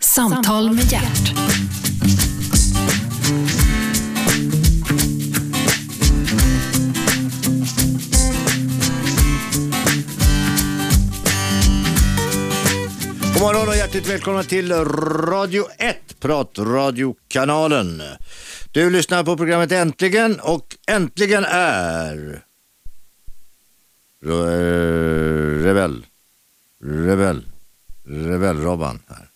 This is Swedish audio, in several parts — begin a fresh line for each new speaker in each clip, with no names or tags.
Samtal med hjärt.
God morgon och hjärtligt välkomna till Radio 1, Pratradiokanalen. Du lyssnar på programmet Äntligen och äntligen är... Re- Rebell. Rebell. Rebell-Robban här.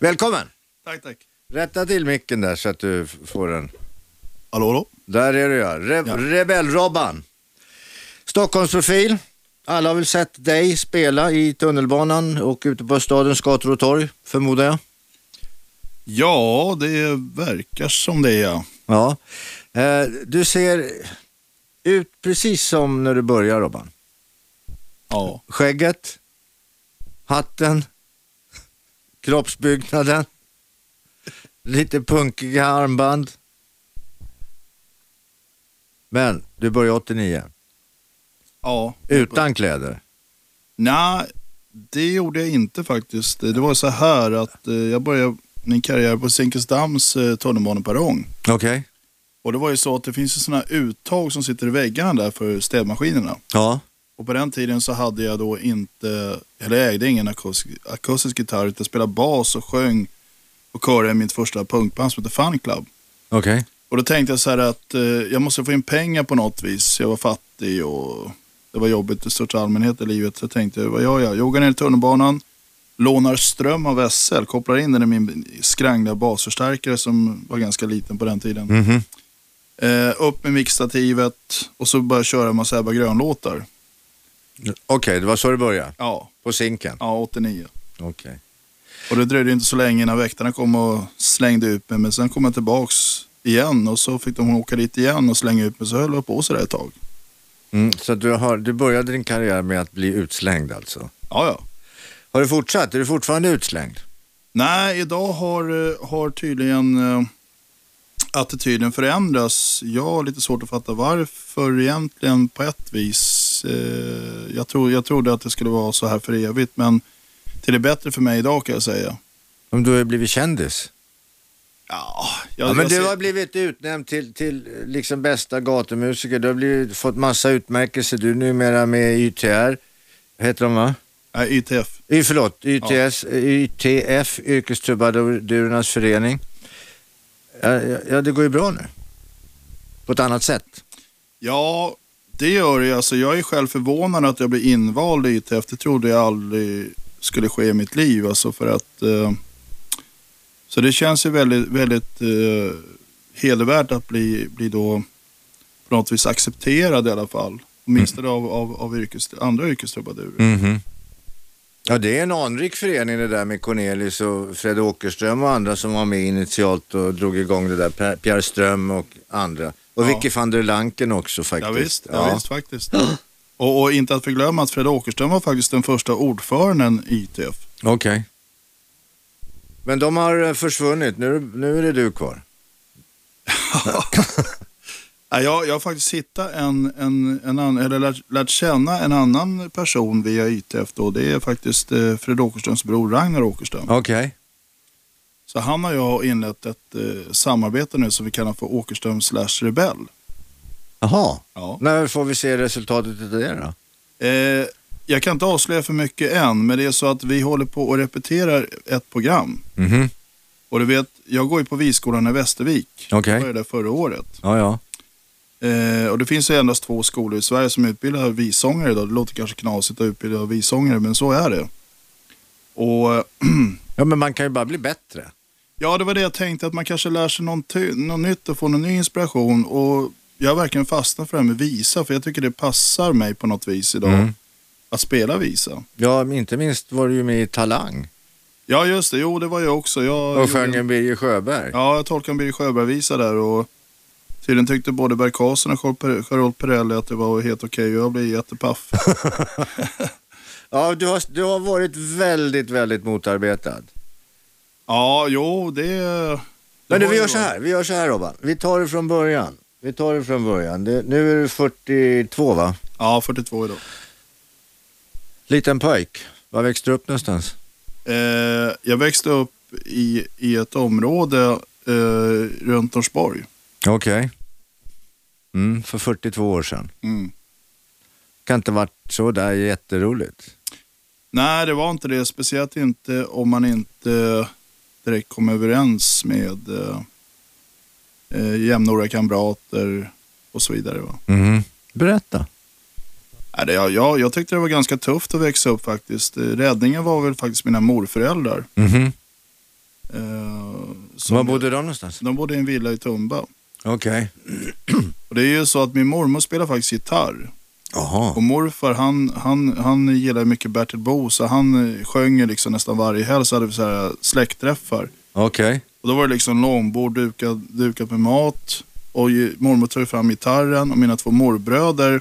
Välkommen!
Tack, tack.
Rätta till micken där så att du f- får den.
Hallå, hallå.
Där är du ja. Re- Rebell-Robban. Stockholmsprofil. Alla har väl sett dig spela i tunnelbanan och ute på stadens gator och torg, förmodar jag.
Ja, det verkar som det, ja.
Ja. Eh, Du ser ut precis som när du börjar Robban.
Ja,
Skägget, hatten, kroppsbyggnaden, lite punkiga armband. Men du börjar 89,
ja.
utan kläder.
Nej, det gjorde jag inte faktiskt. Det var så här att eh, jag började min karriär på Zinkensdamms eh, tunnelbaneperrong.
Okej.
Och det var ju så att det finns ju sådana uttag som sitter i väggarna där för städmaskinerna.
Ja.
Och på den tiden så hade jag då inte, eller jag ägde ingen akustisk, akustisk gitarr utan spelade bas och sjöng och körade i mitt första punkband som hette Fun Club.
Okej.
Och då tänkte jag så här att eh, jag måste få in pengar på något vis. Jag var fattig och det var jobbigt i största allmänhet i livet. Så jag tänkte, vad gör jag? Jag går ner i tunnelbanan, lånar ström av SL, kopplar in den i min skrangliga basförstärkare som var ganska liten på den tiden.
Mhm.
Eh, upp med mixstativet och så började jag köra en massa Ebba Grön-låtar.
Okej, det var så du började.
Ja,
På sinken.
ja, 89.
Okej.
Och det dröjde inte så länge innan väktarna kom och slängde ut mig. Men sen kom jag tillbaks igen och så fick de åka dit igen och slänga ut mig. Så höll jag på sådär ett tag.
Mm, så du, har, du började din karriär med att bli utslängd alltså?
Ja, ja.
Har du fortsatt? Är du fortfarande utslängd?
Nej, idag har, eh, har tydligen eh, attityden förändrats. Jag har lite svårt att fatta varför egentligen på ett vis. Eh, jag, tro, jag trodde att det skulle vara så här för evigt, men till det bättre för mig idag kan jag säga.
Om du har blivit kändis?
Ja,
Ja,
jag,
men
jag
du
ser-
har blivit utnämnd till, till eh, liksom bästa gatumusiker. Du har blivit, fått massa utmärkelser. Du är numera med i YTR. Heter de va?
Nej, YTF.
Y, förlåt, YTS, YTF, Yrkestrubadurernas förening. Ja, ja, ja, det går ju bra nu. På ett annat sätt.
Ja, det gör det. Alltså, jag är själv förvånad att jag blev invald i ITF. Det trodde jag aldrig skulle ske i mitt liv. Alltså, för att, eh, så det känns ju väldigt, väldigt eh, hedervärt att bli, bli då på något vis accepterad i alla fall. Åtminstone av, av, av yrkes, andra yrkestrubadurer.
Ja, det är en anrik förening det där med Cornelis och Fred Åkerström och andra som var med initialt och drog igång det där. Per- Pierre Ström och andra. Och
Ja.
Vicky van der Lanken också
Ja,
faktiskt.
visst, ja. visst faktiskt. Och, och inte att förglömma att Fred Åkerström var faktiskt den första ordföranden i ITF.
Okej. Men de har eh, försvunnit, nu, är- nu är det du kvar.
Ja, jag, jag har faktiskt hittat en, en, en annan, eller lärt, lärt känna en annan person via ITF då. Det är faktiskt eh, Fred Åkerströms bror Ragnar Åkerström.
Okej.
Så han och jag har inlett ett eh, samarbete nu som vi kallar för Åkerström slash Rebell.
Jaha.
Ja.
När får vi se resultatet av det då?
Eh, jag kan inte avslöja för mycket än, men det är så att vi håller på och repeterar ett program.
Mhm.
Och du vet, jag går ju på Viskolan i Västervik.
Okej.
Jag började där förra året.
Ja, ja.
Eh, och det finns ju endast två skolor i Sverige som utbildar visångare idag. Det låter kanske knasigt att utbilda visångare, men så är det. Och eh,
Ja, men man kan ju bara bli bättre.
ja, det var det jag tänkte, att man kanske lär sig någon ty- något nytt och får någon ny inspiration. Och jag har verkligen fastnat för det här med visa, för jag tycker det passar mig på något vis idag.
Mm.
Att spela visa.
Ja, men inte minst var du ju med i Talang
Ja, just det. Jo, det var jag också. Jag
och sjöng en Birger Sjöberg.
Ja, jag tolkade en Birger Sjöberg-visa där och tydligen tyckte både Berg Karlsson och Charl- Charlotte Perrelli att det var helt okej och jag blev jättepaff.
Ja, du, har, du har varit väldigt, väldigt motarbetad.
Ja, jo, det... det
Men du,
var
vi
ju
gör
bra.
så här, vi gör så här Robban. Vi tar det från början. Vi tar det från början. Det, nu är du 42 va?
Ja, 42 idag.
Liten pojk. Var växte du upp någonstans?
Eh, jag växte upp i, i ett område eh, runt Norsborg.
Okej. Mm, för 42 år sedan.
Mm.
Kan inte varit så där jätteroligt.
Nej, det var inte det. Speciellt inte om man inte direkt kom överens med eh, eh, jämnåriga kamrater och så vidare. Va?
Mhm. Berätta.
Nej, det, jag, jag, jag tyckte det var ganska tufft att växa upp faktiskt. Eh, Räddningen var väl faktiskt mina morföräldrar.
Mhm.
Eh, som-
Var bodde de någonstans?
De bodde i en villa i Tumba.
Okej.
Och det är ju så att min mormor spelar faktiskt gitarr.
Jaha.
Och morfar han, han, han gillar mycket Bertil Bo så han eh, sjöng ju liksom nästan varje helg så hade vi så här släktträffar.
Okej.
Och då var det liksom långbord dukat, dukat med mat. Och ju- mormor tog fram gitarren och mina två morbröder.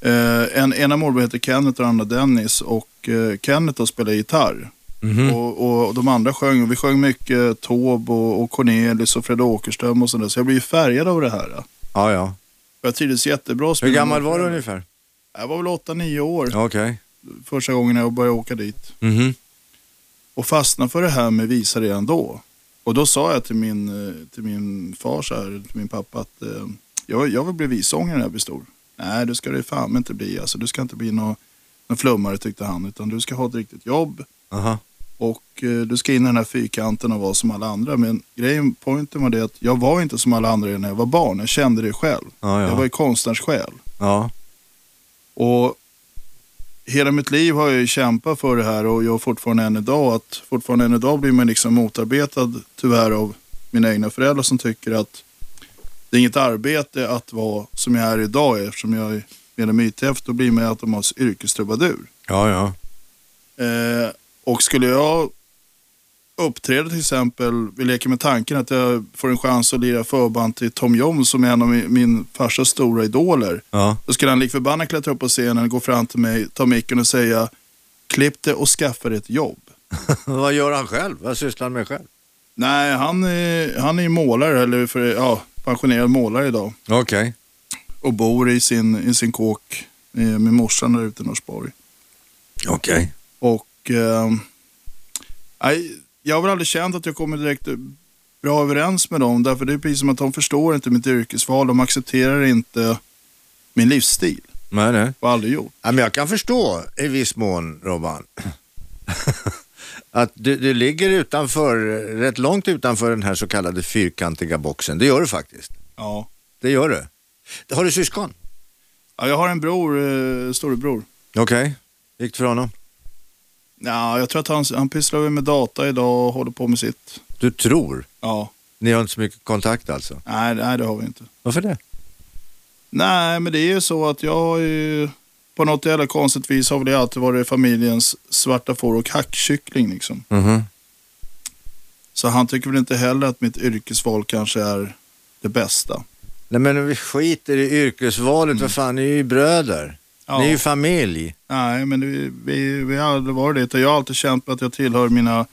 Eh, en, ena morbror heter Kenneth och andra Dennis. Och eh, Kenneth då spelade gitarr.
Mhm.
Och, och de andra sjöng. Och vi sjöng mycket Taube och, och Cornelis och Fred Åkerström och sådär. Så jag blev ju färgad av det här.
Ja, ja.
Jag trivdes jättebra.
Hur gammal var du ungefär?
Jag var väl 8-9 år
Okej.
första gången jag började åka dit.
Mhm.
Och fastnade för det här med visa redan då. Och då sa jag till min, eh, till min far, så här, till min pappa att eh, jag, jag vill bli vissångare när jag blir stor. Nej, du ska det fan inte bli. Alltså, du ska inte bli någon, någon flummare tyckte han. Utan du ska ha ett riktigt jobb
Aha.
och eh, du ska in i den här fyrkanten och vara som alla andra. Men grejen, pointen var det att jag var inte som alla andra när jag var barn. Jag kände det själv.
Ja,
Jag var
ja.
ju konstnärssjäl.
Ja.
Och hela mitt liv har jag ju kämpat för det här och jag har fortfarande än idag att fortfarande än idag blir man liksom motarbetad tyvärr av mina egna föräldrar som tycker att det är inget arbete att vara som jag är idag eftersom jag är medlem i ITF då blir man ju automatiskt yrkestrubadur.
Ja, ja.
Eh, och skulle jag uppträda till exempel, vi leker med tanken att jag får en chans att lira förband till Tom Jones som är en av min, min farsas stora idoler.
Ja.
Då skulle han lik förbannat klättra upp på scenen, gå fram till mig, ta micken och säga Klipp det och skaffa dig ett jobb.
Vad gör han själv? Vad sysslar han med själv?
Nej, han är, han är ju målare, eller för, ja, pensionerad målare idag.
Okej.
Och bor i sin, i sin kåk eh, med morsan där ute i Norsborg.
Okej.
Och eh, nej, jag har väl aldrig känt att jag kommer direkt bra överens med dem. Därför det är precis som att de förstår inte mitt yrkesval. De accepterar inte min livsstil.
Nej, nej.
Och har aldrig gjort.
Ja, men jag kan förstå i viss mån, Robban. att du, du ligger utanför, rätt långt utanför den här så kallade fyrkantiga boxen. Det gör du faktiskt.
Ja.
Det gör du. Har du syskon?
Ja, jag har en bror, eh, storebror.
Okej. Gick det för honom?
Ja, jag tror att han, han pysslar väl med data idag och håller på med sitt.
Du tror?
Ja,
Ni har inte så mycket kontakt alltså?
nej, nej det har vi inte.
Varför det?
Nej, men det är ju så att jag har ju på något jävla konstigt vis har väl jag alltid varit familjens svarta får och hackkyckling liksom.
Mhm.
Så han tycker väl inte heller att mitt yrkesval kanske är det bästa.
Nej men vi skiter i yrkesvalet, vad fan, ni är ju bröder.
Ja.
Ni är ju familj.
Nej, men det, vi, vi har aldrig varit det. utan Jag har alltid känt att jag tillhör mina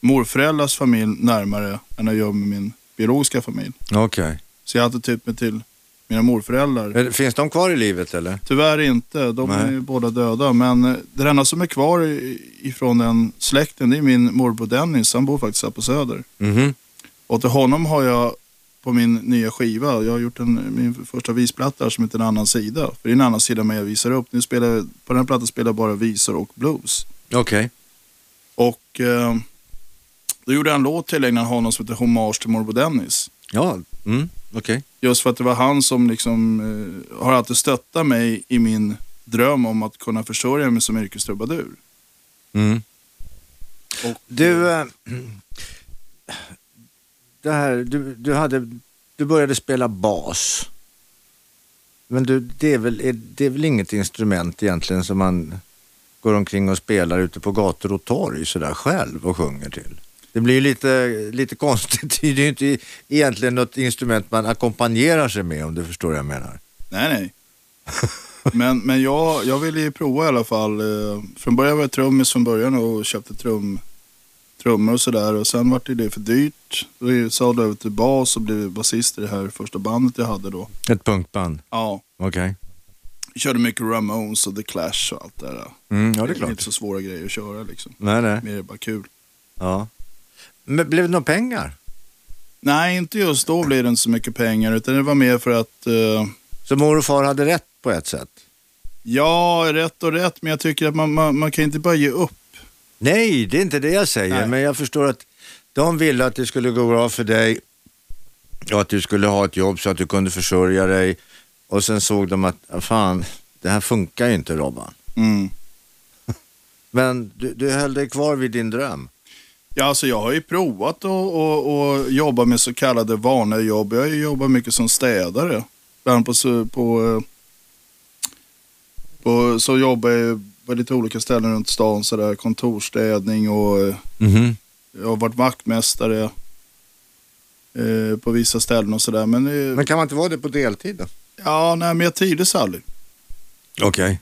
morföräldrars familj närmare än jag gör med min biologiska familj.
Okej.
Så jag har alltid tytt mig till mina morföräldrar.
Finns de kvar i livet eller?
Tyvärr inte, de är
Nej.
ju båda döda. Men eh, det enda som är kvar i- ifrån den släkten det är min morbror Dennis. Han bor faktiskt här på Söder.
Mhm.
Och till honom har jag på min nya skiva, jag har gjort en, min första visplatta som heter En annan sida. För det är en annan sida med jag visar upp. Nu spelar, jag- på den här plattan spelar jag bara visor och blues.
Okej.
Och eh, då gjorde jag en låt tillägnad honom som heter Hommage till morbror Dennis.
Ja, mm. okej.
Just för att det var han som liksom, eh, har alltid stöttat mig i min dröm om att kunna försörja mig som yrkestrubadur.
Mm.
Och-
Du, eh, det här, du, du, hade, du började spela bas. Men du, det, är väl, är, det är väl inget instrument egentligen som man går omkring och spelar ute på gator och torg sådär själv och sjunger till? Det blir ju lite, lite konstigt. Det är ju inte egentligen något instrument man ackompanjerar sig med om du förstår vad jag menar.
Nej, nej. men men jag, jag ville ju prova i alla fall. eh, Från början var jag trummis från början och köpte trum, trummor och sådär. Och sen var det det för dyrt. Då sa det över till bas och blev basist i det här första bandet jag hade då.
Ett punkband,
Ja,
okej.
körde mycket Ramones och The Clash och allt det där.
Mm, ja, det är
Inte
klart.
så svåra grejer att köra liksom.
Nej, nej.
Mer bara kul.
Ja. Men blev det några pengar?
Nej, inte just då blev det inte så mycket pengar utan det var mer för att eh,
Så mor och far hade rätt på ett sätt?
Ja, rätt och rätt, men jag tycker att man, man, man kan inte bara ge upp.
Nej, det är inte det jag säger,
Nej.
men jag förstår att de ville att det skulle gå bra för dig och att du skulle ha ett jobb så att du kunde försörja dig. Och sen såg de att, "Ah, fan, det här funkar ju inte Robban.
Mm.
Men du, du höll dig kvar vid din dröm.
Ja, alltså jag har ju provat att och, och jobba med så kallade vanliga jobb. Jag har ju jobbat mycket som städare. Bland annat på, så- på, eh, på, så jobbar jag på lite olika ställen runt stan, så där, kontorsstädning och eh,
mm
jag har varit vaktmästare eh, på vissa ställen och sådär. Men, eh,
Men kan man inte vara det på deltid då?
ja, nej, men jag trivdes aldrig.
Okej.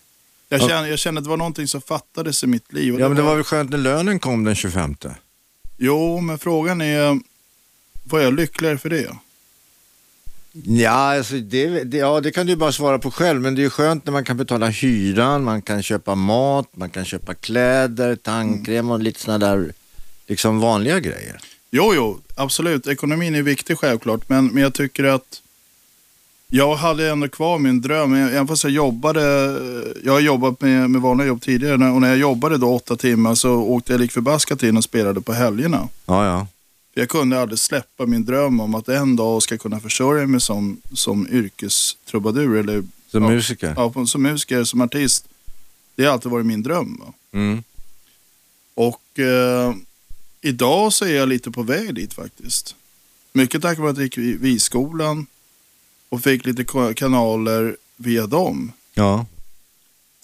Jag
Ja.
kände, jag kände att det var någonting som fattades i mitt liv. och
Ja, men det var väl skönt när lönen kom den 25.
Jo, men frågan är, var jag lyckligare för det?
Ja, alltså det, det, ja, det kan du ju bara svara på själv, men det är ju skönt när man kan betala hyran, man kan köpa mat, man kan köpa kläder, tandkräm och lite sådana där liksom vanliga grejer.
Jo, jo, absolut. Ekonomin är viktig självklart, men, men jag tycker att jag hade ändå kvar min dröm. Även fast jag jobbade, jag har jobbat med, med vanliga jobb tidigare När- och när jag jobbade då åtta timmar så åkte jag lik förbaskat in och spelade på helgerna.
Ja, ja.
För Jag kunde aldrig släppa min dröm om att en dag ska kunna försörja mig som, som yrkestrubadur eller
Som
Ja.
musiker.
ja, som musiker, som artist. Det har alltid varit min dröm. Va?
Mm.
Och eh, idag så är jag lite på väg dit faktiskt. Mycket tack vare att jag gick i vi-skolan och fick lite ko- kanaler via dem
Ja.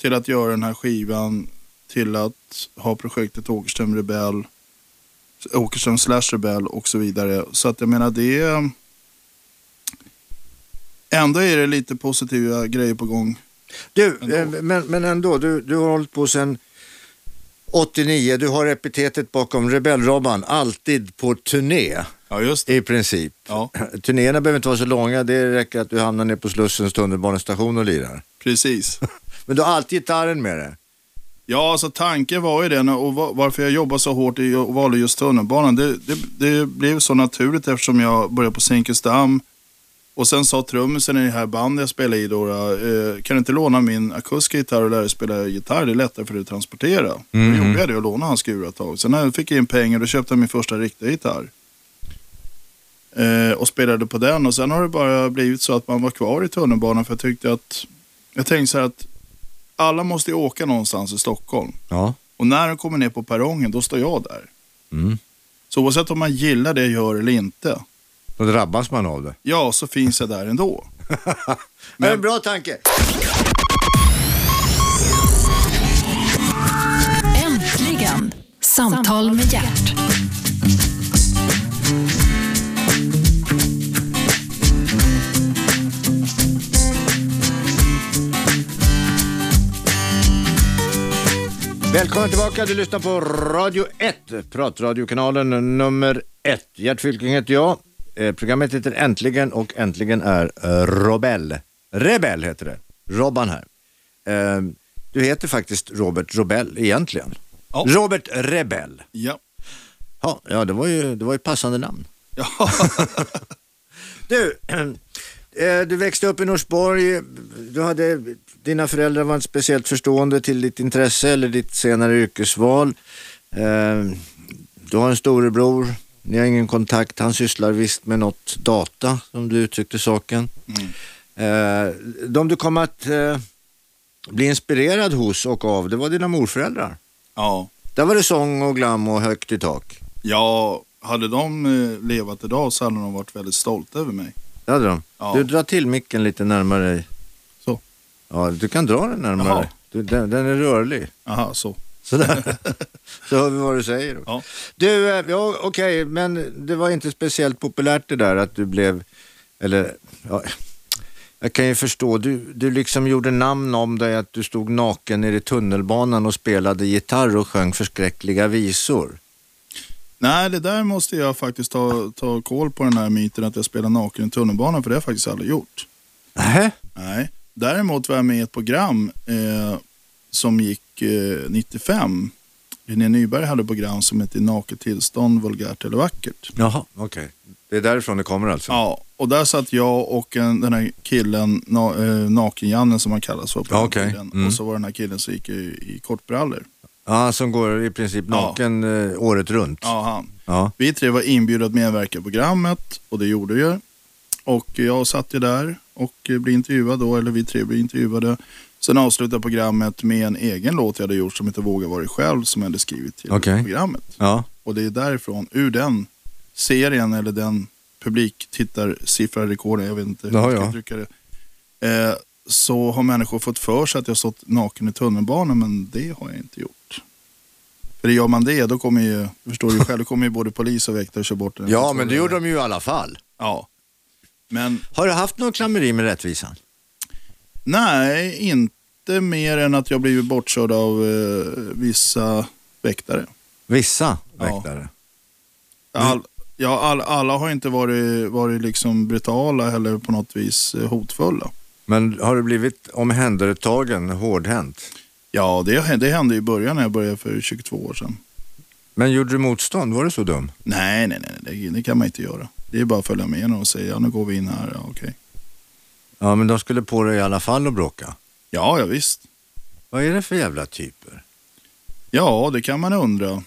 till att göra den här skivan, till att ha projektet Åkerström Rebell, Åkerström slash Rebell och så vidare. Så att jag menar det är... Ändå är det lite positiva grejer på gång.
Du, eh, men, men ändå, du, du har hållit på sedan 89, du har epitetet bakom Rebell-Robban, alltid på turné
Ja, just
i princip.
Ja,
Turnéerna behöver inte vara så långa, det räcker att du hamnar ner på Slussens tunnelbanestation och lirar.
precis.
Men du har alltid gitarren med dig.
Ja, alltså tanken var ju den och va- varför jag jobbade så hårt i- och valde just tunnelbanan. Det, det, det blev så naturligt eftersom jag började på Zinkensdamm. Och sen sa trummisen i det här bandet jag spelade i då, eh, kan du inte låna min akustiska gitarr och lära dig spela gitarr? Det är lättare för dig att transportera. Då gjorde jag det och lånade hans skura ett tag. Sen när jag fick in pengar då köpte jag min första riktiga gitarr. Eh, och spelade på den och sen har det bara blivit så att man var kvar i tunnelbanan för jag tyckte att, jag tänkte så här att alla måste ju åka någonstans i Stockholm.
Ja.
Och när de kommer ner på perrongen, då står jag där.
Mm.
Så oavsett om man gillar det jag gör eller inte,
Då drabbas man av det.
ja, så finns jag där ändå.
Men en bra tanke.
Äntligen! Samtal med hjärt.
Välkommen tillbaka, du lyssnar på Radio 1, pratradiokanalen nummer 1. Gert Fylking heter jag. Eh, programmet heter Äntligen och äntligen är eh, Robell. Rebell heter det. Robban här. Eh, du heter faktiskt Robert Robell egentligen.
Ja.
Robert Rebell.
Ja.
Ja, ja det, var ju, det var ju ett passande namn.
Ja.
Du, eh, du växte upp i Norsborg. Du hade, dina föräldrar var inte speciellt förstående till ditt intresse eller ditt senare yrkesval. Eh, Du har en storebror. Ni har ingen kontakt. Han sysslar visst med något data, som du uttryckte saken. Eh, De du kom att eh, bli inspirerad hos och av, det var dina morföräldrar.
ja.
Där var det sång och glam och högt i tak.
Ja, hade de eh, levat idag så hade de varit väldigt stolta över mig.
Det hade de.
Ja.
Du drar till micken lite närmare dig.
Så.
Ja, du kan dra den närmare.
Jaha.
Du, den, den är rörlig.
Aha, så.
Sådär. Så hör vi vad du säger.
Ja.
Du, eh, ja, okej, men det var inte speciellt populärt det där att du blev, eller, ja, jag kan ju förstå, du, du liksom gjorde namn om dig att du stod naken nere i tunnelbanan och spelade gitarr och sjöng förskräckliga visor.
Nej, det där måste jag faktiskt ta, ta koll på den här myten att jag spelar naken i tunnelbanan, för det har jag faktiskt aldrig gjort.
Nähä?
Nej. Däremot var jag med i ett program eh, som gick eh, 95 Linné Nyberg hade program som hette Naket tillstånd, vulgärt eller vackert.
Jaha, okej. Det är därifrån det kommer alltså?
Ja, och där satt jag och en, den här killen, na, eh, Naken-Janne som han kallas för på
Ja,
den
okej.
tiden.
Mm.
Och så var det den här killen som gick i, i kortbrallor.
Ja, som går i princip naken eh, året runt?
Ja, han.
Ja.
Vi tre var inbjudna att medverka i programmet och det gjorde vi. Och jag satt ju där och blev intervjuad då, eller vi tre blev intervjuade. Sen avslutade programmet med en egen låt jag hade gjort som heter Våga vara dig själv som jag hade skrivit till
Okej.
programmet.
ja.
Och det är därifrån, ur den serien eller den publiktittarsiffrarekorden, jag vet inte hur
Ja,
jag ska
ja.
uttrycka det. Eh, så har människor fått för sig att jag stått naken i tunnelbanan, men det har jag inte gjort. För gör man det, då kommer ju, du förstår ju själv, då kommer ju både polis och väktare och kör bort den.
ja, men det gjorde de ju i alla fall.
Ja. Men
Har du haft någon klammeri med rättvisan?
nej, inte mer än att jag blivit bortkörd av eh, vissa väktare.
Vissa
Ja.
väktare?
All, ja, all, alla har inte varit, varit liksom brutala eller på något vis eh, hotfulla.
Men har du blivit omhändertagen hårdhänt?
Ja, det, det hände i början när jag började för 22 år sedan.
Men gjorde du motstånd? Var du så dum?
Nej, nej, nej, det, det kan man inte göra. Det är bara att följa med någon och säga, ja, nu går vi in här, ja, okej.
Ja, men de skulle på dig i alla fall och bråka.
Ja, ja, visst.
Vad är det för jävla typer?
Ja, det kan man undra.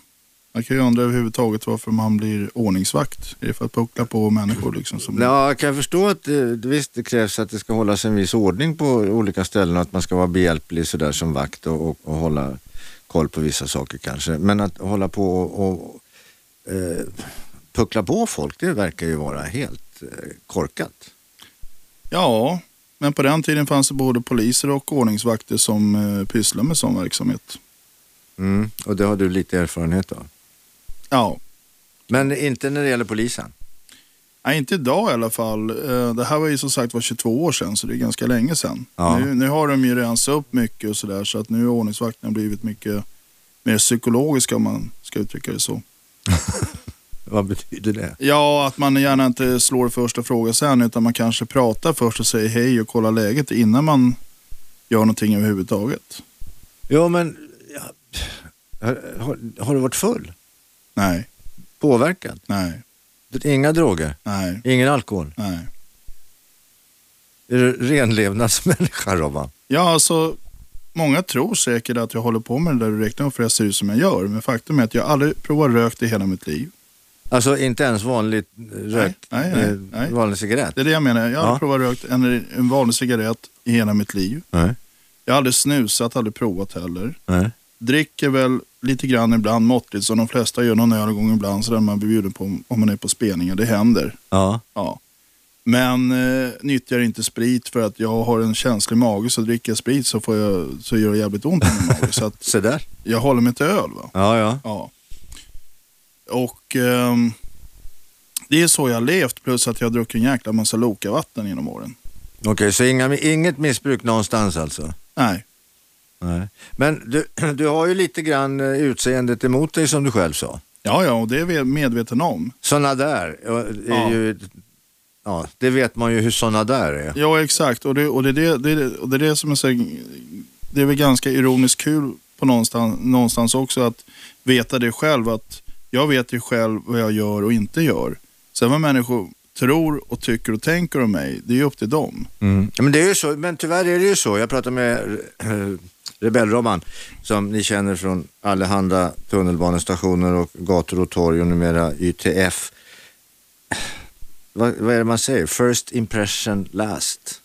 Man kan ju undra överhuvudtaget varför man blir ordningsvakt. Är det för att puckla på människor liksom? Som...
Ja, jag kan förstå att eh, visst, det krävs att det ska hållas en viss ordning på olika ställen och att man ska vara behjälplig sådär som vakt och, och, och hålla koll på vissa saker kanske. Men att hålla på och, och eh, puckla på folk, det verkar ju vara helt eh, korkat.
Ja, men på den tiden fanns det både poliser och ordningsvakter som eh, pysslade med sån verksamhet.
Mm. Och det har du lite erfarenhet av.
Ja,
Men inte när det gäller polisen?
Nej, inte idag i alla fall. Eh, Det här var ju som sagt var 22 år sedan, så det är ganska länge sedan.
Ja.
Nu, nu har de ju rensat upp mycket och sådär, så att nu har ordningsvakterna blivit mycket mer psykologiska om man ska uttrycka det så.
Vad betyder det?
Ja, att man gärna inte slår först och frågar sen, utan man kanske pratar först och säger hej och kollar läget innan man gör någonting överhuvudtaget.
Jo, men ja, har, har, har du varit full?
Nej,
Påverkad?
nej,
Inga droger?
nej,
Ingen alkohol?
nej.
Är du renlevnadsmänniska, Robban?
Ja, alltså, många tror säkert att jag håller på med det där du räknar upp för jag ser ut som jag gör, men faktum är att jag aldrig provat rökt i hela mitt liv.
Alltså inte ens vanligt eh, rök,
nej, nej,
eh,
nej.
vanlig cigarett?
Det är det jag menar. Jag har
Ja.
aldrig provat rökt en, en vanlig cigarett i hela mitt liv.
Nej.
Jag har aldrig snusat, aldrig provat heller.
nej.
Dricker väl lite grann ibland måttligt som de flesta gör någon öl gång ibland så där man blir bjuden på om- om man är på spelningar. Det händer.
Ja.
Ja. Men eh, nyttjar inte sprit för att jag har en känslig mage så dricker jag sprit så, får jag, så gör det jävligt ont i min mage. Så att
Så där.
jag håller mig till öl. Va?
Ja, ja.
Ja. Och ehm, det är så jag har levt plus att jag har druckit en jäkla massa Lokavatten genom åren.
Okej, så inga, inget missbruk någonstans alltså?
Nej.
Nej. Men du, du har ju lite grann eh, utseendet emot dig som du själv sa.
Ja, ja, och det är vi medveten om.
Sådana där eh, är
Ja.
ju... Ja, det vet man ju hur sådana där är.
Ja, exakt. Och det, och det, är det, det, är det, och det är det som är så, Det är väl ganska ironiskt kul på någonstans, någonstans också att veta det själv. Att jag vet ju själv vad jag gör och inte gör. Sen vad människor tror och tycker och tänker om mig, det är ju upp till dem.
Mm. Men, det är ju så, men tyvärr är det ju så. Jag pratade med äh, Rebellrobban som ni känner från allehanda tunnelbanestationer och gator och torg och numera YTF. Vad, vad är det man säger? First impression last.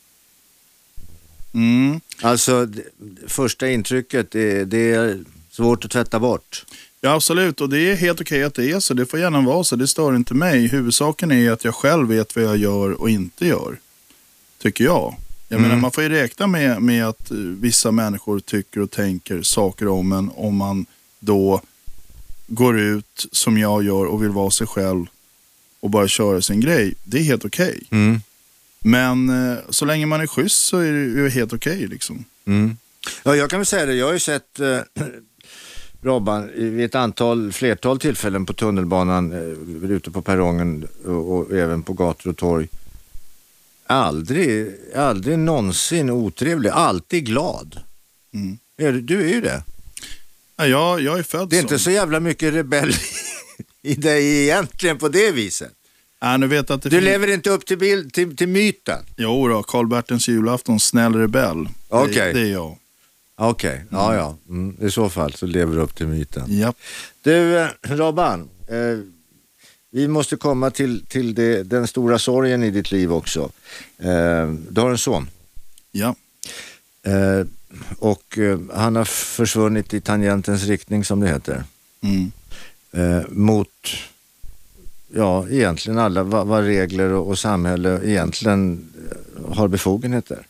Mm.
Alltså det, första intrycket, är, det är svårt att tvätta bort.
Ja, absolut. Och det är helt okej att det är så. Det får gärna vara så. Det stör inte mig. Huvudsaken är att jag själv vet vad jag gör och inte gör. Tycker jag. Jag
Mm.
menar, man får ju räkna med, med att eh, vissa människor tycker och tänker saker om en om man då går ut som jag gör och vill vara sig själv och bara köra sin grej. Det är helt okej. Men eh, så länge man är schysst så är det ju helt okej liksom.
Ja, jag kan väl säga det. Jag har ju sett eh, Robban i- vid ett antal, flertal tillfällen på tunnelbanan, eh, ute på perrongen och, och även på gator och torg. Aldrig, aldrig någonsin otrevlig, alltid glad.
Mm.
Är du, du är ju det.
Ja, jag, jag är född
Det är
sån.
inte så jävla mycket rebell i dig egentligen på det viset.
Ja, Äh, nu vet jag att det
Du
finns-
lever inte upp till, bild, till, till myten.
Jo då, Karl-Bertens julafton, snäll rebell. Det,
Okej.
det är jag.
Okej, ja ja. Mm. I så fall så lever du upp till myten.
Japp.
Du, eh, Robban. Eh, vi måste komma till, till det, den stora sorgen i ditt liv också. Eh, du har en son.
Ja.
Eh, och eh, han har försvunnit i tangentens riktning som det heter.
Mm.
Eh, mot, ja egentligen alla vad, vad regler och, och samhälle egentligen eh, har befogenheter.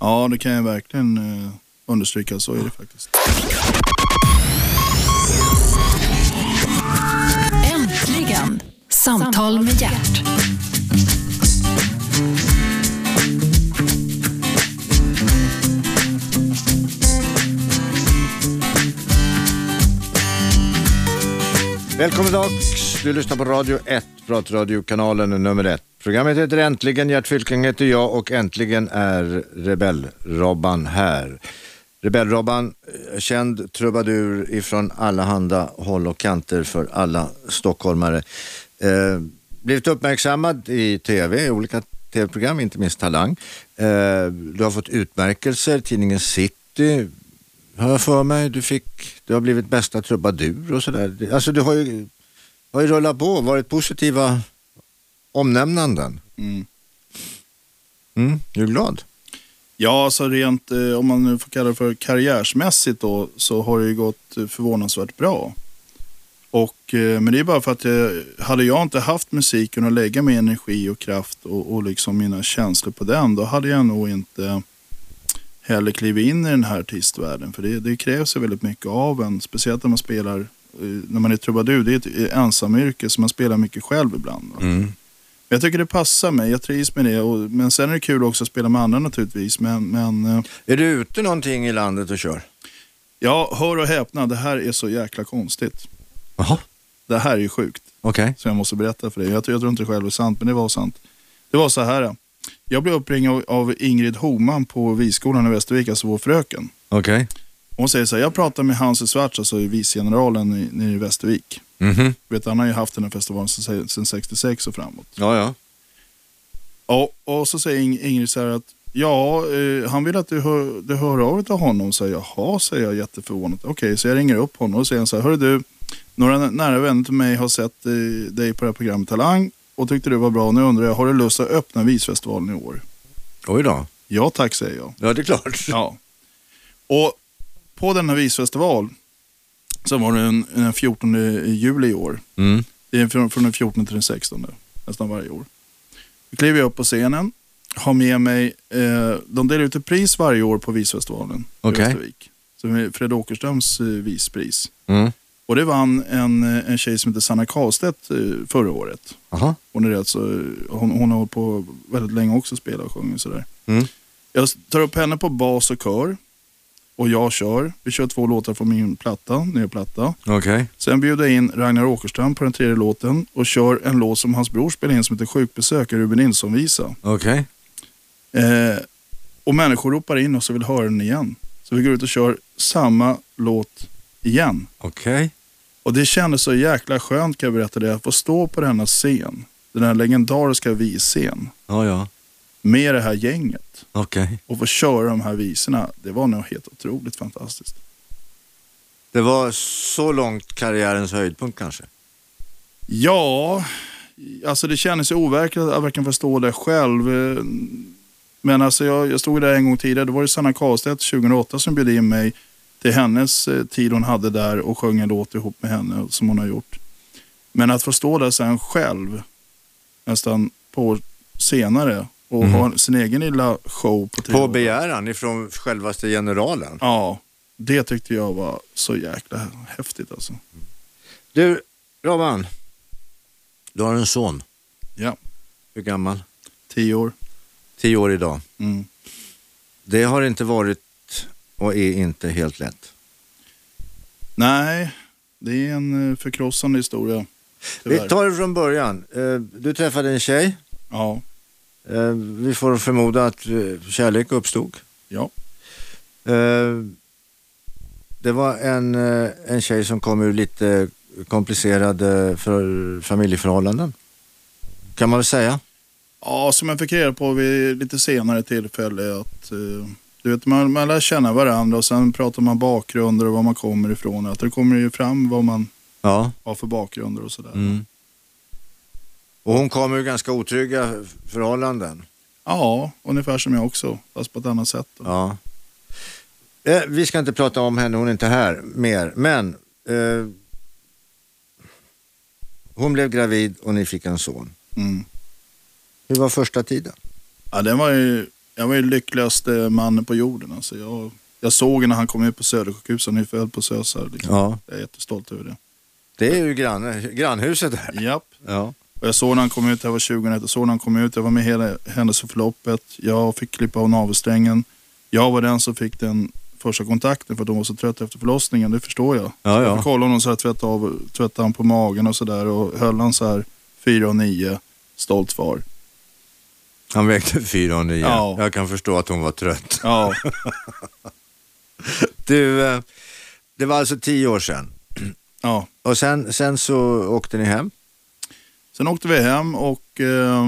ja, det kan jag verkligen eh, understryka. Så är det faktiskt.
Äntligen! Samtal med hjärt.
Välkommen dags, du lyssnar på Radio 1, pratradiokanalen nummer 1. Programmet heter Äntligen, Gert Fylking heter jag och äntligen är Rebell-Robban här. Rebell-Robban, eh, känd trubadur ifrån allehanda håll och kanter för alla stockholmare. Eh, blivit uppmärksammad i tv, i olika tv-program, inte minst Talang. Eh, du har fått utmärkelser, tidningen City, har jag för mig. Du, fick, du har blivit bästa trubadur och sådär. Det- Alltså du har ju, har ju rullat på, varit positiva omnämnanden.
Mm.
Mm. Du är glad?
Ja, alltså rent, eh, om man nu får kalla det för karriärsmässigt då, så har det ju gått eh, förvånansvärt bra. Och, eh, men det är bara för att jag, hade jag inte haft musiken och lägga min energi och kraft och, och liksom mina känslor på den, då hade jag nog inte heller klivit in i den här artistvärlden. För det, det krävs ju väldigt mycket av en, speciellt när man spelar, eh, när man är trubadur, det är ett eh, ensamyrke så man spelar mycket själv ibland. Va? Men Jag tycker det passar mig, jag trivs med det. Och, men sen är det kul också att spela med andra naturligtvis. Men, men eh,
Är du ute någonting i landet och kör?
ja, hör och häpna, det här är så jäkla konstigt.
Jaha,
Det här är ju sjukt,
okej.
så jag måste berätta för dig. Jag, tror- jag tror inte det själv är sant, men det var sant. Det var så här. eh. Jag blev uppringd av, av Ingrid Homan på Viskolan i Västervik, alltså vår fröken.
Okej.
Hon säger så här, jag pratade med Hans Schwarz, alltså vicegeneralen i- nere i Västervik.
Mhm.
Du Vet, han har ju haft den här festivalen sedan sedan 66 och framåt.
Ja, ja.
Ja, och så säger Ing- Ingrid så här att ja, eh, han vill att du hör, du hör av dig till honom. Så jag, jaha, säger jag jätteförvånat. Okej, så jag ringer upp honom och säger så här, hörru du, några nä- nära vänner till mig har sett eh, dig på det här programmet Talang och tyckte du var bra. Nu undrar jag, har du lust att öppna Visfestivalen i år?
Oj då.
Ja tack, säger jag.
Ja, det är klart.
Ja. Och på denna visfestival så var det en, en 14 juli i år.
Mm.
Det är från, från den 14 till den 16 nu, nästan varje år. Då kliver jag upp på scenen, har med mig, eh, de delar ut ett pris varje år på Visfestivalen
Okej.
i Västervik. Som är Fred Åkerströms eh, vispris.
Mm.
Och det vann en, eh, en tjej som heter Sanna Karlstedt eh, förra året.
Aha.
Hon, är rätt så, hon, hon har hållit på väldigt länge också, spelat och sjungit och sådär.
Mm.
Jag tar upp henne på bas och kör. Och jag kör. Vi kör två låtar från min platta, nya platta.
Okej.
Sen bjuder jag in Ragnar Åkerström på den tredje låten och kör en låt som hans bror spelade in som heter Sjukbesök, en Ruben Nilsson-visa.
Okej.
Eh, och människor ropar in oss och vill höra den igen. Så vi går ut och kör samma låt igen.
Okej.
Och det kändes så jäkla skönt kan jag berätta det, att få stå på denna scen, den här legendariska visscen,
Ja, ja.
med det här gänget
Okej.
och få köra de här visorna. Det var nog helt otroligt fantastiskt.
Det var så långt karriärens höjdpunkt kanske?
Ja, alltså det kändes ju overkligt att verkligen få stå där själv. Eh, Men alltså jag, jag stod där en gång tidigare. Då var det Sanna Karlstedt 2008 som bjöd in mig till hennes eh, tid hon hade där och sjöng en låt ihop med henne som hon har gjort. Men att få stå där sen själv nästan på år senare och
Mm.
ha sin egen lilla show
På
på tv.
begäran ifrån självaste generalen?
Ja, det tyckte jag var så jäkla häftigt alltså.
Du, Robban. Du har en son.
Ja,
Hur gammal?
tio år.
Tio år idag.
Mm.
Det har inte varit och är inte helt lätt.
Nej, det är en eh, förkrossande historia.
Vi
Tyvärr.
tar det från början. Eh, Du träffade en tjej.
Ja,
Eh, Vi får förmoda att eh, kärlek uppstod.
ja.
Eh, Det var en, eh, en tjej som kom ur lite komplicerade för familjeförhållanden. Kan man väl säga.
Ja, som jag fick reda på vid lite senare tillfälle att eh, du vet, man, man lär känna varandra och sen pratar man bakgrunder och var man kommer ifrån. Att det kommer ju fram vad man
Ja.
har för bakgrunder och sådär.
Mm. Och hon kom ur ganska otrygga förhållanden.
Ja, ungefär som jag också, fast på ett annat sätt. Då.
Ja. Eh, vi ska inte prata om henne, hon är inte här mer. Men eh, hon blev gravid och ni fick en son.
Mm.
Hur var första tiden?
Ja, den var ju, jag var ju lyckligaste mannen på jorden. Alltså, jag, jag såg när han kom ut på Södersjukhuset, han är ju född på Sösar. Liksom.
Ja.
Jag är jättestolt över det.
Det är ju grann, grannhuset där.
Japp.
Ja.
Och jag såg när han kom ut, jag var 2001, jag såg när han kom ut, jag var med hela händelseförloppet. Jag fick klippa av navelsträngen. Jag var den som fick den första kontakten för att de var så trötta efter förlossningen, det förstår jag.
Ja,
Jag fick hålla honom så här, tvätta, av, tvätta han på magen och sådär och höll han så här 4 och 9, stolt far.
Han vägde 4 och 9.
Ja.
Jag kan förstå att hon var trött.
Ja,
Du, eh, det var alltså 10 år sedan.
ja.
Och sen, sen så åkte ni hem.
Sen åkte vi hem och eh,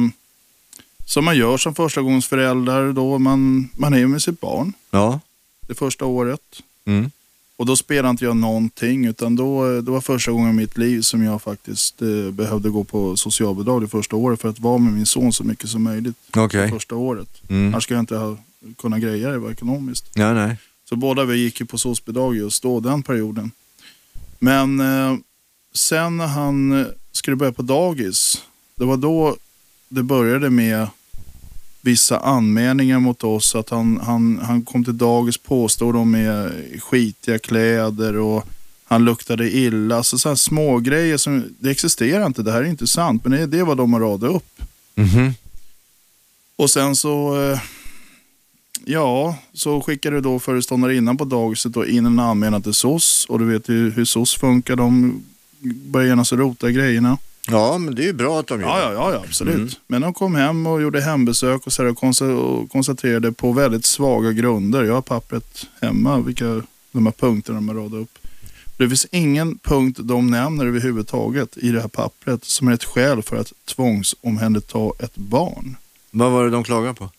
som man gör som förstagångsförälder då, man, man är ju med sitt barn
Ja.
det första året.
Mm.
Och då spelade inte jag någonting utan då, det var första gången i mitt liv som jag faktiskt eh, behövde gå på socialbidrag det första året för att vara med min son så mycket som möjligt
Okej.
första året.
Mm.
Annars skulle jag inte ha kunna greja det var ekonomiskt.
Ja, nej.
Så båda vi gick ju på SOS-bidrag just då, den perioden. Men eh, sen när han eh, skulle börja på dagis, det var då det började med vissa anmälningar mot oss. Att han, han, han kom till dagis påstod de med skitiga kläder och han luktade illa. Så, så här små grejer som, det existerar inte, det här är inte sant. Men det, det var de radade upp.
Mhm.
Och sen så, eh, ja, så skickade då föreståndarinnan på dagiset då in en anmälan till SOS och du vet ju hur SOS funkar, de börjar genast rota i grejerna.
Ja, men det är ju bra att de gör
Ja,
det.
ja, ja, ja absolut.
Mm.
Men de kom hem och gjorde hembesök och, så här, och konsta- och konstaterade på väldigt svaga grunder, jag har pappret hemma, vilka de här punkterna de har radat upp. Det finns ingen punkt de nämner överhuvudtaget i det här pappret som är ett skäl för att tvångsomhänderta ett barn.
Vad var det de klagade på?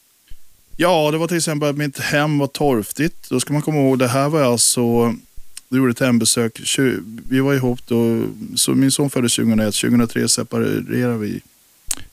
Ja, det var till exempel att mitt hem var torftigt. Då ska man komma ihåg, det här var alltså, du gjorde ett hembesök, tju- vi var ihop då, så min son föddes 2001, 2003 separerade vi,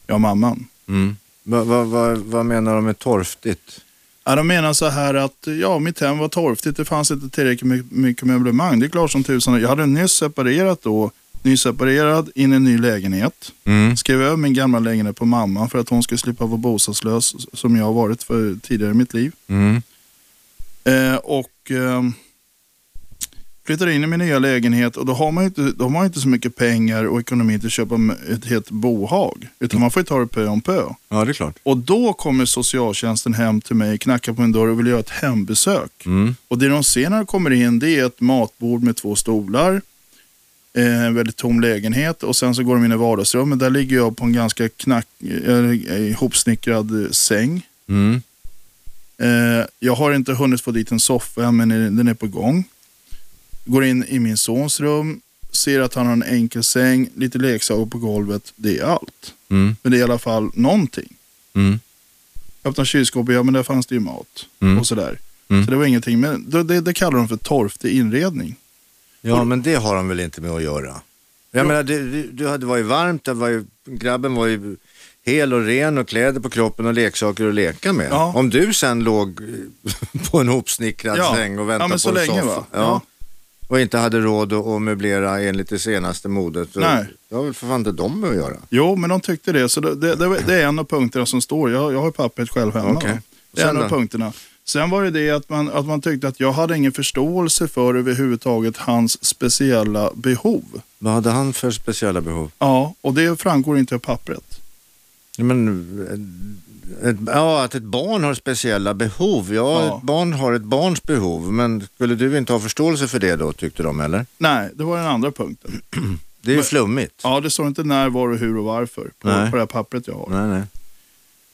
jag och mamman.
Mm. Vad va, va, vad menar de med torftigt?
Ja, de menar så här att, ja mitt hem var torftigt, det fanns inte tillräckligt my- mycket möblemang. Det är klart som tusan, jag hade nyss separerat då, nyss separerad, in i en ny lägenhet.
Mm.
Skrev över min gamla lägenhet på mamman för att hon skulle slippa vara bostadslös som jag har varit för tidigare i mitt liv.
Mm.
Eh, och eh, flyttar in i min nya lägenhet och då har man ju inte, då har man ju inte så mycket pengar och ekonomi till att köpa m- ett helt bohag. Utan man får ju ta det pö om pö.
Ja, det är klart.
Och då kommer socialtjänsten hem till mig, knackar på min dörr och vill göra ett hembesök.
Mm.
Och det de ser när de kommer in det är ett matbord med två stolar. eh, En väldigt tom lägenhet och sen så går de in i vardagsrummet. Där ligger jag på en ganska knack, eh, ihopsnickrad eh, säng.
Mm.
Eh, jag har inte hunnit få dit en soffa än, men den är på gång. Går in i min sons rum, ser att han har en enkel säng, lite leksaker på golvet. Det är allt.
Mm.
Men det är i alla fall någonting.
Mm.
Öppnar kylskåpet, ja men där fanns det ju mat.
Mm.
Och sådär.
Mm.
Så det var ingenting. Men det, det, det kallar de för torftig inredning.
Ja, men det har de väl inte med att göra. Jag menar, du, du- du hade varit varmt, det var ju, grabben var ju hel och ren och kläder på kroppen och leksaker att leka med.
Ja.
Om du sen låg eh, på en hopsnickrad
Ja.
säng och
Ja,
väntade
men så
på en
länge,
soffa.
va?
Ja.
Ja.
Och inte hade råd att att möblera enligt det senaste modet. så-
Nej.
Det har väl för fan inte de med att göra.
Jo, men de tyckte det. Så det, det, det, var- det är en av punkterna som står. Jag, jag har pappret själv hemma.
Okej.
va? Det är
Sen
en av
då?
punkterna. Sen var det det att man, att man tyckte att jag hade ingen förståelse för överhuvudtaget hans speciella behov.
Vad hade han för speciella behov?
Ja, och det framgår inte av pappret.
Ja, Men, eh, ett, ja, att ett barn har speciella behov. Ja,
Ja.
ett barn har ett barns behov. Men skulle du inte ha förståelse för det då, tyckte de, eller?
Nej, det var den andra punkten.
Det är ju
Men-
flummigt.
Ja, det står inte när, var och hur och varför på,
Nej.
på det här pappret jag har.
Nej,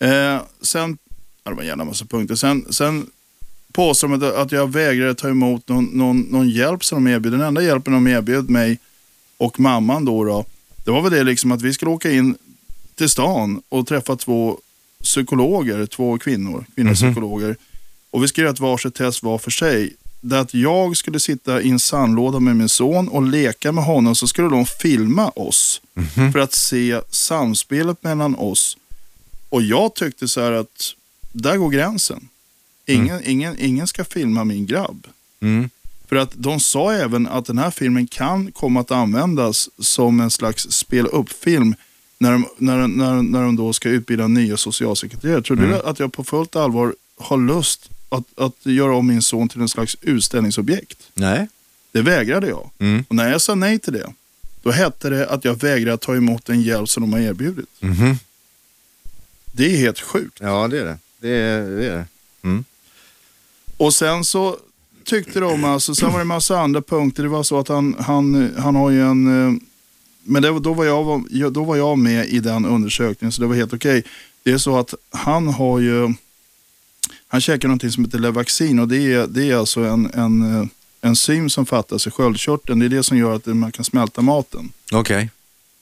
nej.
Eh, sen, ja, det var en jävla massa punkter. Sen, sen påstår de att, att jag vägrade ta emot någon, någon, någon hjälp som de erbjöd. Den enda hjälpen de erbjöd mig och mamman då, då det var väl det liksom att vi skulle åka in till stan och träffa två psykologer, två kvinnor, kvinnopsykologer. Och vi skulle göra ett varsitt test var för sig. Där att jag skulle sitta i en sandlåda med min son och leka med honom så skulle de filma oss för att se samspelet mellan oss. Och jag tyckte så här att där går gränsen. Ingen, ingen, ingen ska filma min grabb.
Mm.
För att de sa även att den här filmen kan komma att användas som en slags spela-upp-film när de, när, de- när, de- när de då ska utbilda nya socialsekreterare. Tror
Mm.
du att jag på fullt allvar har lust att, att göra om min son till en slags utställningsobjekt?
Nej.
Det vägrade jag.
Mm.
Och när jag sa nej till det, då hette det att jag vägrade att ta emot den hjälp som de har erbjudit.
Mhm.
Det är helt sjukt.
Ja, det är det. Det är det. Är det.
Och sen så tyckte de alltså, sen var det massa andra punkter. Det var så att han, han, han har ju en, eh, men det, var- då, var jag, var- då var jag med i den undersökningen så det var helt okej. Det är så att han har ju, han käkar någonting som heter Levaxin och det är, det är alltså en, en eh, enzym som fattas i sköldkörteln. Det är det som gör att man kan smälta maten.
Okej.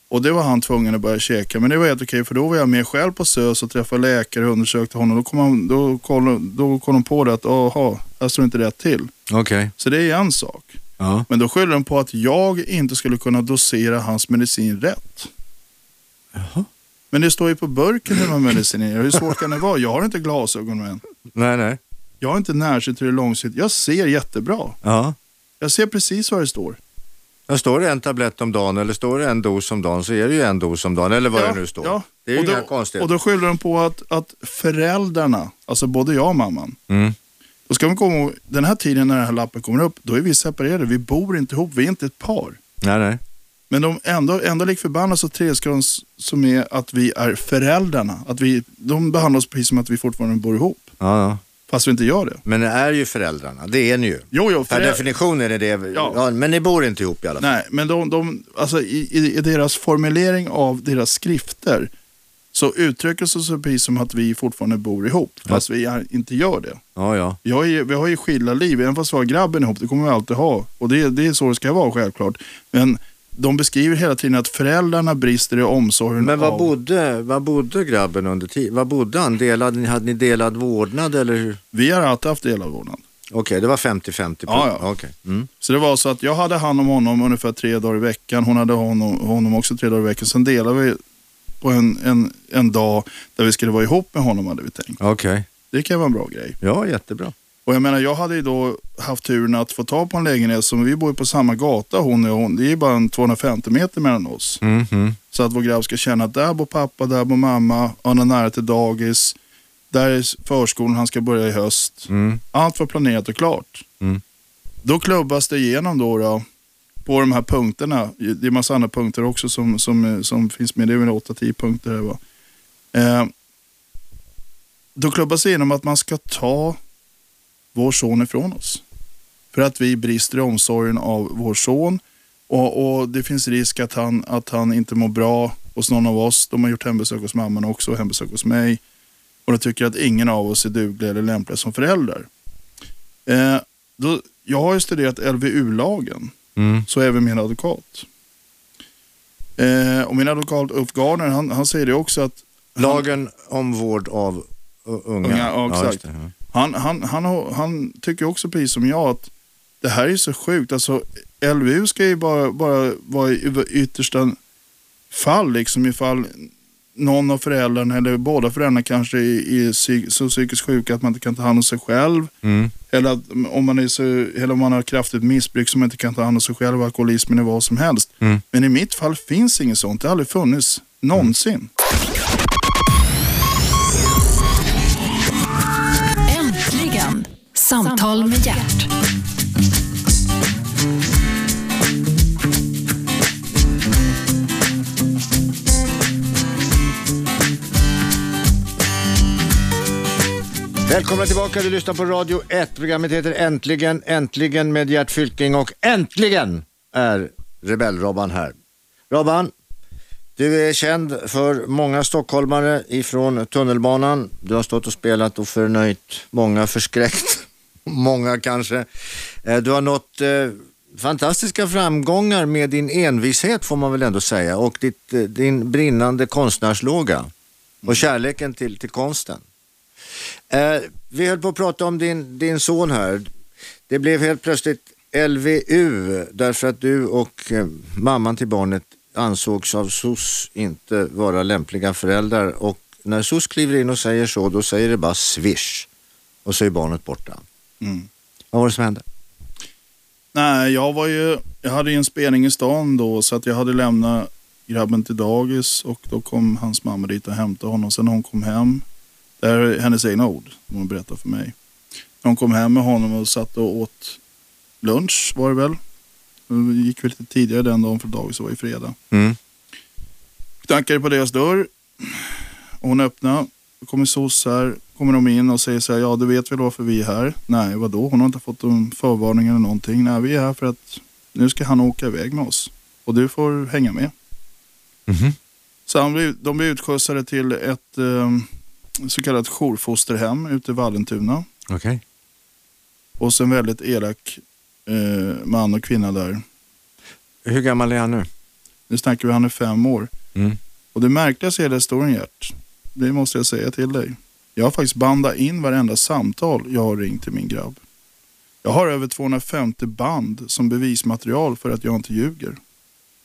Och det var han tvungen att börja käka. Men det var helt okej för då var jag med själv på SÖS och träffade läkare och undersökte honom. Då kom, han, då kom, då kom de på det att aha, här står inte rätt till.
Okej.
Så det är en sak.
Ja.
Men då skyller de på att jag inte skulle kunna dosera hans medicin rätt.
Jaha.
Men det står ju på burken hur man medicinerar. Hur svårt kan det vara? Jag har inte glasögon än.
Nej, nej.
Jag har inte närsynt eller långsynt. Jag ser jättebra.
Ja.
Jag ser precis vad det står.
Ja, står det en tablett om dagen eller står det en dos om dagen så är det ju en dos om dagen eller vad det nu står.
ja.
Det är ju
och då,
inga konstigheter.
Och då skyller de på att, att föräldrarna, alltså både jag och mamman,
Mm.
Då ska man komma ihåg, den här tiden när den här lappen kommer upp, då är vi separerade. Vi bor inte ihop, vi är inte ett par.
Nej, nej.
Men de ändå, ändå lik förbannat så trilskar de s- som är att vi är föräldrarna. Att vi, de behandlar oss precis som att vi fortfarande bor ihop,
Ja, ja.
fast vi inte gör det.
Men det är ju föräldrarna, det är ni ju.
Jo, jo,
Per
föräldrar-
definition är det det. Ja.
Ja.
men ni bor inte ihop i alla fall.
Nej, men de, de, alltså, i, i, i deras formulering av deras skrifter så uttrycker sig så precis som att vi fortfarande bor ihop, fast vi är, inte gör det.
Ja, ja.
Jag är, vi har ju skilda liv, även fast vi har grabben ihop, det kommer vi alltid ha. Och det, det är så det ska vara självklart. Men de beskriver hela tiden att föräldrarna brister i omsorgen
Men var
av...
bodde, var bodde grabben under tiden? Var bodde han? Delad, ni- hade ni delad vårdnad eller hur?
Vi har alltid haft delad vårdnad.
Okej, det var 50-50. på-
Ja, ja.
Okej. Mm.
Så det var så att jag hade hand om honom ungefär tre dagar i veckan. Hon hade honom, honom också tre dagar i veckan. Sen delade vi på en, en, en dag där vi skulle vara ihop med honom hade vi tänkt.
Okej,
Det kan vara en bra grej.
ja jättebra.
Och jag menar, jag hade ju då haft turen att få tag på en lägenhet som vi bor ju på samma gata hon och jag. Hon, det är ju bara en 250 meter mellan oss.
Mhm.
Så att vår grabb ska känna att där bor pappa, där bor mamma, han är nära till dagis, där är förskolan, han ska börja i höst.
Mm.
Allt var planerat och klart.
Mm.
Då klubbas det igenom då, då på de här punkterna. Det är massa andra punkter också som, som, som finns med. Det är väl 8-10 punkter. Här, va? Eh, då klubbas det igenom att man ska ta vår son ifrån oss. För att vi brister i omsorgen av vår son. Och, och det finns risk att han, att han inte mår bra hos någon av oss. De har gjort hembesök hos mamman också och hembesök hos mig. Och de tycker att ingen av oss är dugliga eller lämpliga som föräldrar. Eh, då, jag har ju studerat LVU-lagen,
Mm.
så även min advokat. Eh, och min advokat Ulf Garner, han, han säger det också att
Lagen om vård av u- unga.
Unga, ja,
just
exakt.
det. Ja.
Han, han, han, har- han tycker också precis som jag att det här är så sjukt. Alltså, LVU ska ju bara, bara vara i i yttersta fall, liksom ifall någon av föräldrarna eller båda föräldrarna kanske är, är psy- så psykiskt sjuka att man inte kan ta hand om sig själv.
Mm.
Eller att, om man, är så, eller om man har kraftigt missbruk som man inte kan ta hand om sig själv, alkoholismen eller vad som helst.
Mm.
Men i mitt fall finns inget sånt. Det har aldrig funnits. Någonsin.
Äntligen! Samtal med hjärt.
Välkomna tillbaka, du lyssnar på Radio 1. Programmet heter Äntligen, äntligen med Gert Fylking och äntligen är Rebell-Robban här. Robban, du är känd för många stockholmare ifrån tunnelbanan. Du har stått och spelat och förnöjt många förskräckt. många kanske. Eh, Du har nått eh, fantastiska framgångar med din envishet får man väl ändå säga och ditt, eh, din brinnande konstnärslåga och kärleken till, till konsten. Eh, Vi höll på att prata om din, din son här. Det blev helt plötsligt LVU därför att du och eh, mamman till barnet ansågs av SOS inte vara lämpliga föräldrar och när SOS kliver in och säger så då säger det bara swish och så är barnet borta.
Mm.
Vad var det som hände?
Nej, jag var ju, jag hade ju en spelning i stan då så att jag hade lämnat grabben till dagis och då kom hans mamma dit och hämtade honom. Sen när hon kom hem, det här är hennes egna ord som hon berättar för mig. När hon kom hem med honom och satt och åt lunch var det väl. Det gick väl lite tidigare den dagen för dagis, det var ju fredag.
Mm.
knackade på deras dörr. Och hon öppnade. Då kommer SOS här. Kommer de in och säger så här, ja du vet väl varför vi är här? Nej, vadå? Hon har inte fått någon förvarning eller någonting. Nej, vi är här för att nu ska han åka iväg med oss. Och du får hänga med. Så han blev, de blev utskjutsade till ett eh, så kallat jourfosterhem ute i Vallentuna.
Okej.
Och sen väldigt elak eh, man och kvinna där.
Hur gammal är han nu?
Nu snackar vi, han är fem år. Och det märkligaste i hela historien Gert, det måste jag säga till dig. Jag har faktiskt bandat in varenda samtal jag har ringt till min grabb. Jag har över 250 band som bevismaterial för att jag inte ljuger.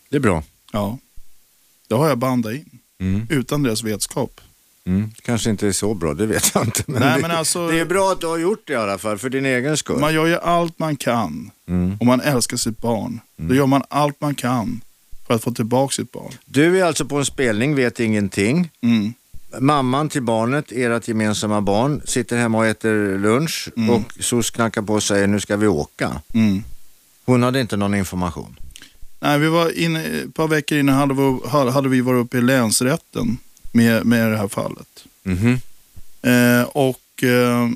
Det är bra.
Ja. Det har jag bandat in,
Mm.
utan deras vetskap.
Mm. Kanske inte är så bra, det vet jag inte. Men
Nej,
det,
men alltså-
det är bra att du har gjort det i alla fall, för din egen skull.
Man gör ju allt man kan
Mm.
om man älskar sitt barn. Då gör man allt man kan för att få tillbaka sitt barn.
Du är alltså på en spelning, vet ingenting.
Mm.
Mamman till barnet, ert gemensamma barn, sitter hemma och äter lunch
Mm.
och SOS knackar på och säger nu ska vi åka.
Mm.
Hon hade inte någon information.
Nej, vi var inne, ett par veckor innan hade vi, hade vi varit uppe i länsrätten med, med det här fallet.
Mhm.
Eh, och eh,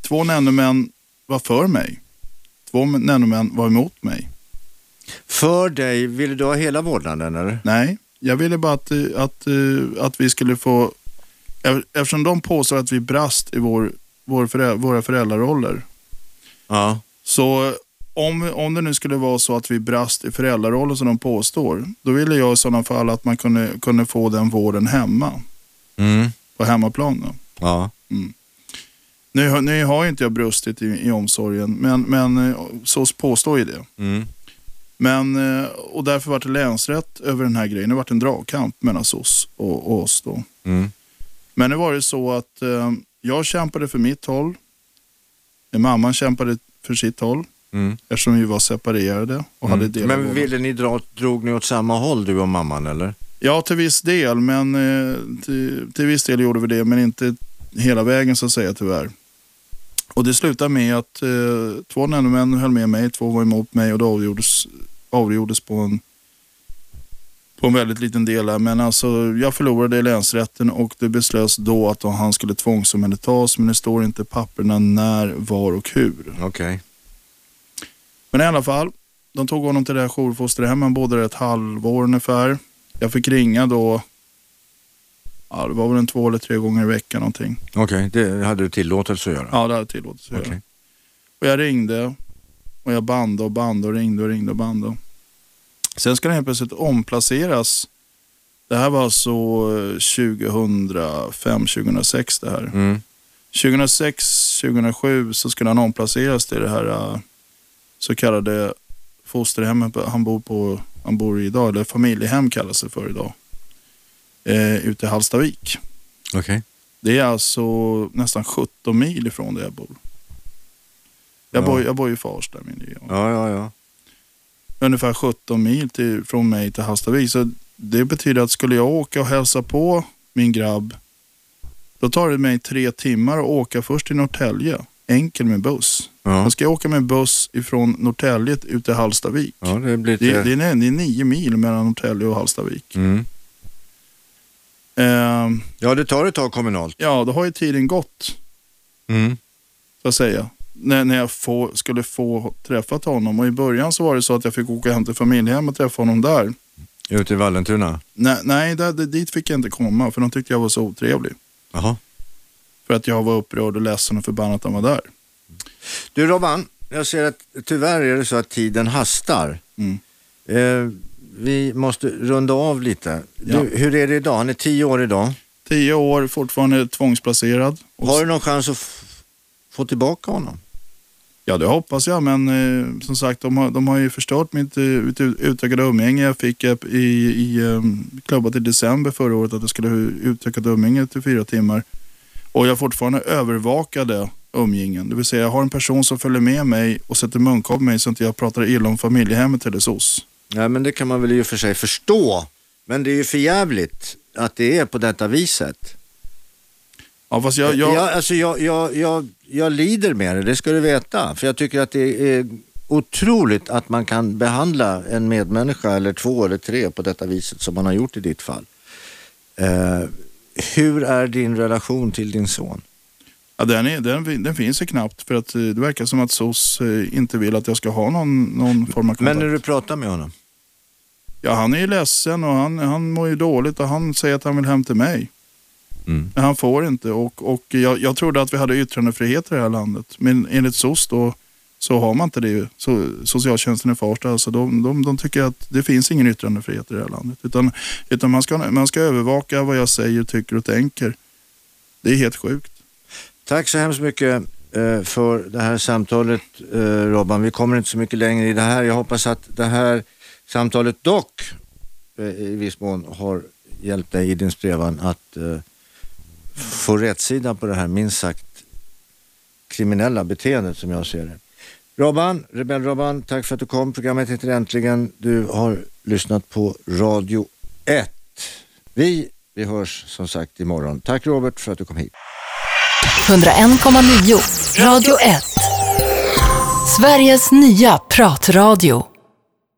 två nämndemän var för mig. Två nämndemän var emot mig.
För dig, vill du ha hela vårdnaden eller?
Nej, jag ville bara att, eh, att, eh, att vi skulle få... ev- Eftersom de påstår att vi brast i vår, vår förä, våra föräldraroller.
Ja.
Så eh, om, om det nu skulle vara så att vi brast i föräldrarollen som de påstår. Då ville jag i sådana fall att man kunde, kunde få den vården hemma.
Mm.
På hemmaplan. Då.
Ja.
Nu, har- nu har ju inte jag brustit i, i omsorgen, men, men eh, så påstår ju det.
Mm.
Men, eh, och därför vart det länsrätt över den här grejen. Det vart en dragkamp mellan SOS och, och oss då.
Mm.
Men nu var det så att eh, jag kämpade för mitt håll. Eh, Mamman kämpade för sitt håll
Mm.
eftersom vi var separerade och hade
Mm.
delad
Men
vårdnad.
ville ni dra, drog ni åt samma håll du och mamman eller?
Ja, till viss del, men eh, till, till viss del gjorde vi det, men inte hela vägen så att säga tyvärr. Och det slutade med att eh, två nämndemän höll med mig, två var emot mig och det avgjordes, avgjordes på en på en väldigt liten del här, men alltså jag förlorade i länsrätten och det beslöts då att han skulle tvångsomhändertas men det står inte i papperna när, var och hur.
Okej.
Men i alla fall, de tog honom till det här jourfosterhemmet. Han bodde där ett halvår ungefär. Jag fick ringa då, ja, det var väl en två eller tre gånger i veckan någonting.
Okej, det hade du tillåtelse att göra?
Ja, det hade tillåtits att göra.
Okej.
Och jag ringde och jag band och band och ringde och ringde och band. Och. Sen ska den helt plötsligt omplaceras. Det här var alltså 2005-2006 det här.
Mm.
2006-2007 så skulle han omplaceras till det här eh, så kallade fosterhemmet han bor, på, han bor i idag, eller familjehem kallas det för idag, eh, ute i Hallstavik.
Okej.
Det är alltså nästan 17 mil ifrån där jag bor. Jag,
Ja.
bor, jag bor ju i Farsta, min nya.
Ja, ja, ja.
Ungefär 17 mil till, från mig till Hallstavik. Så det betyder att skulle jag åka och hälsa på min grabb, då tar det mig tre timmar att åka först till Norrtälje, enkel med buss.
Ja,
Jag ska åka med buss ifrån Norrtälje ut till Hallstavik.
ja det blir
Det, är-
lite...
det, är, det är nio mil mellan Norrtälje och Hallstavik.
Mm.
Ehm,
Ja, det tar ett tag kommunalt.
ja, då har ju tiden gått,
Mm.
så att säga. När, när jag få, skulle få träffat honom. Och i början så var det så att jag fick åka hem till familjehem och träffa honom där.
Ute i Vallentuna?
Nej, nej där, där, dit fick jag inte komma för de tyckte jag var så otrevlig.
Jaha.
För att jag var upprörd och ledsen och förbannad att han var där.
Du Robban, jag ser att tyvärr är det så att tiden hastar.
Mm.
Eh, vi måste runda av lite. Du,
Ja.
Hur är det idag? Han är tio år idag.
Tio år, fortfarande tvångsplacerad. Och
Har du någon chans att f- få tillbaka honom?
Ja, det hoppas jag, men eh, som sagt, de har, de har ju förstört mitt eh, ut, utökade umgänge. Jag fick eh, i, i eh, klubbat i december förra året att jag skulle ha utökat umgänge till fyra timmar. Och jag fortfarande övervakade umgängen. Det vill säga, jag har en person som följer med mig och sätter munkavle på mig så att jag pratar illa om familjehemmet eller SOS.
Nej, men det kan man väl i och för sig förstå. Men det är ju förjävligt att det är på detta viset.
Ja, fast jag... jag,
Jag, alltså jag, jag, jag, jag lider med det, det ska du veta. För jag tycker att det är otroligt att man kan behandla en medmänniska eller två eller tre på detta viset som man har gjort i ditt fall. Eh, hur är din relation till din son?
ja, den, är, den, den finns ju knappt för att eh, det verkar som att SOS eh, inte vill att jag ska ha någon, någon form av kontakt.
Men när du pratar med honom?
Ja, han är ju ledsen och han, han mår ju dåligt och han säger att han vill hem till mig.
Mm.
Men han får inte och, och jag, jag trodde att vi hade yttrandefrihet i det här landet. Men enligt SOS då så har man inte det. Så, socialtjänsten i Farsta, alltså de, de, de tycker att det finns ingen yttrandefrihet i det här landet. Utan, utan man, ska, man ska övervaka vad jag säger, tycker och tänker. Det är helt sjukt.
Tack så hemskt mycket eh, för det här samtalet eh, Robban. Vi kommer inte så mycket längre i det här. Jag hoppas att det här samtalet dock eh, i viss mån har hjälpt dig i din strävan att eh, få rättsida på det här minst sagt kriminella beteendet som jag ser det. Robban, Rebell Robban, tack för att du kom. Programmet heter Äntligen. Du har lyssnat på Radio 1. Vi, vi hörs som sagt imorgon. Tack Robert för att du kom hit.
101,9 Radio 1. Sveriges nya pratradio.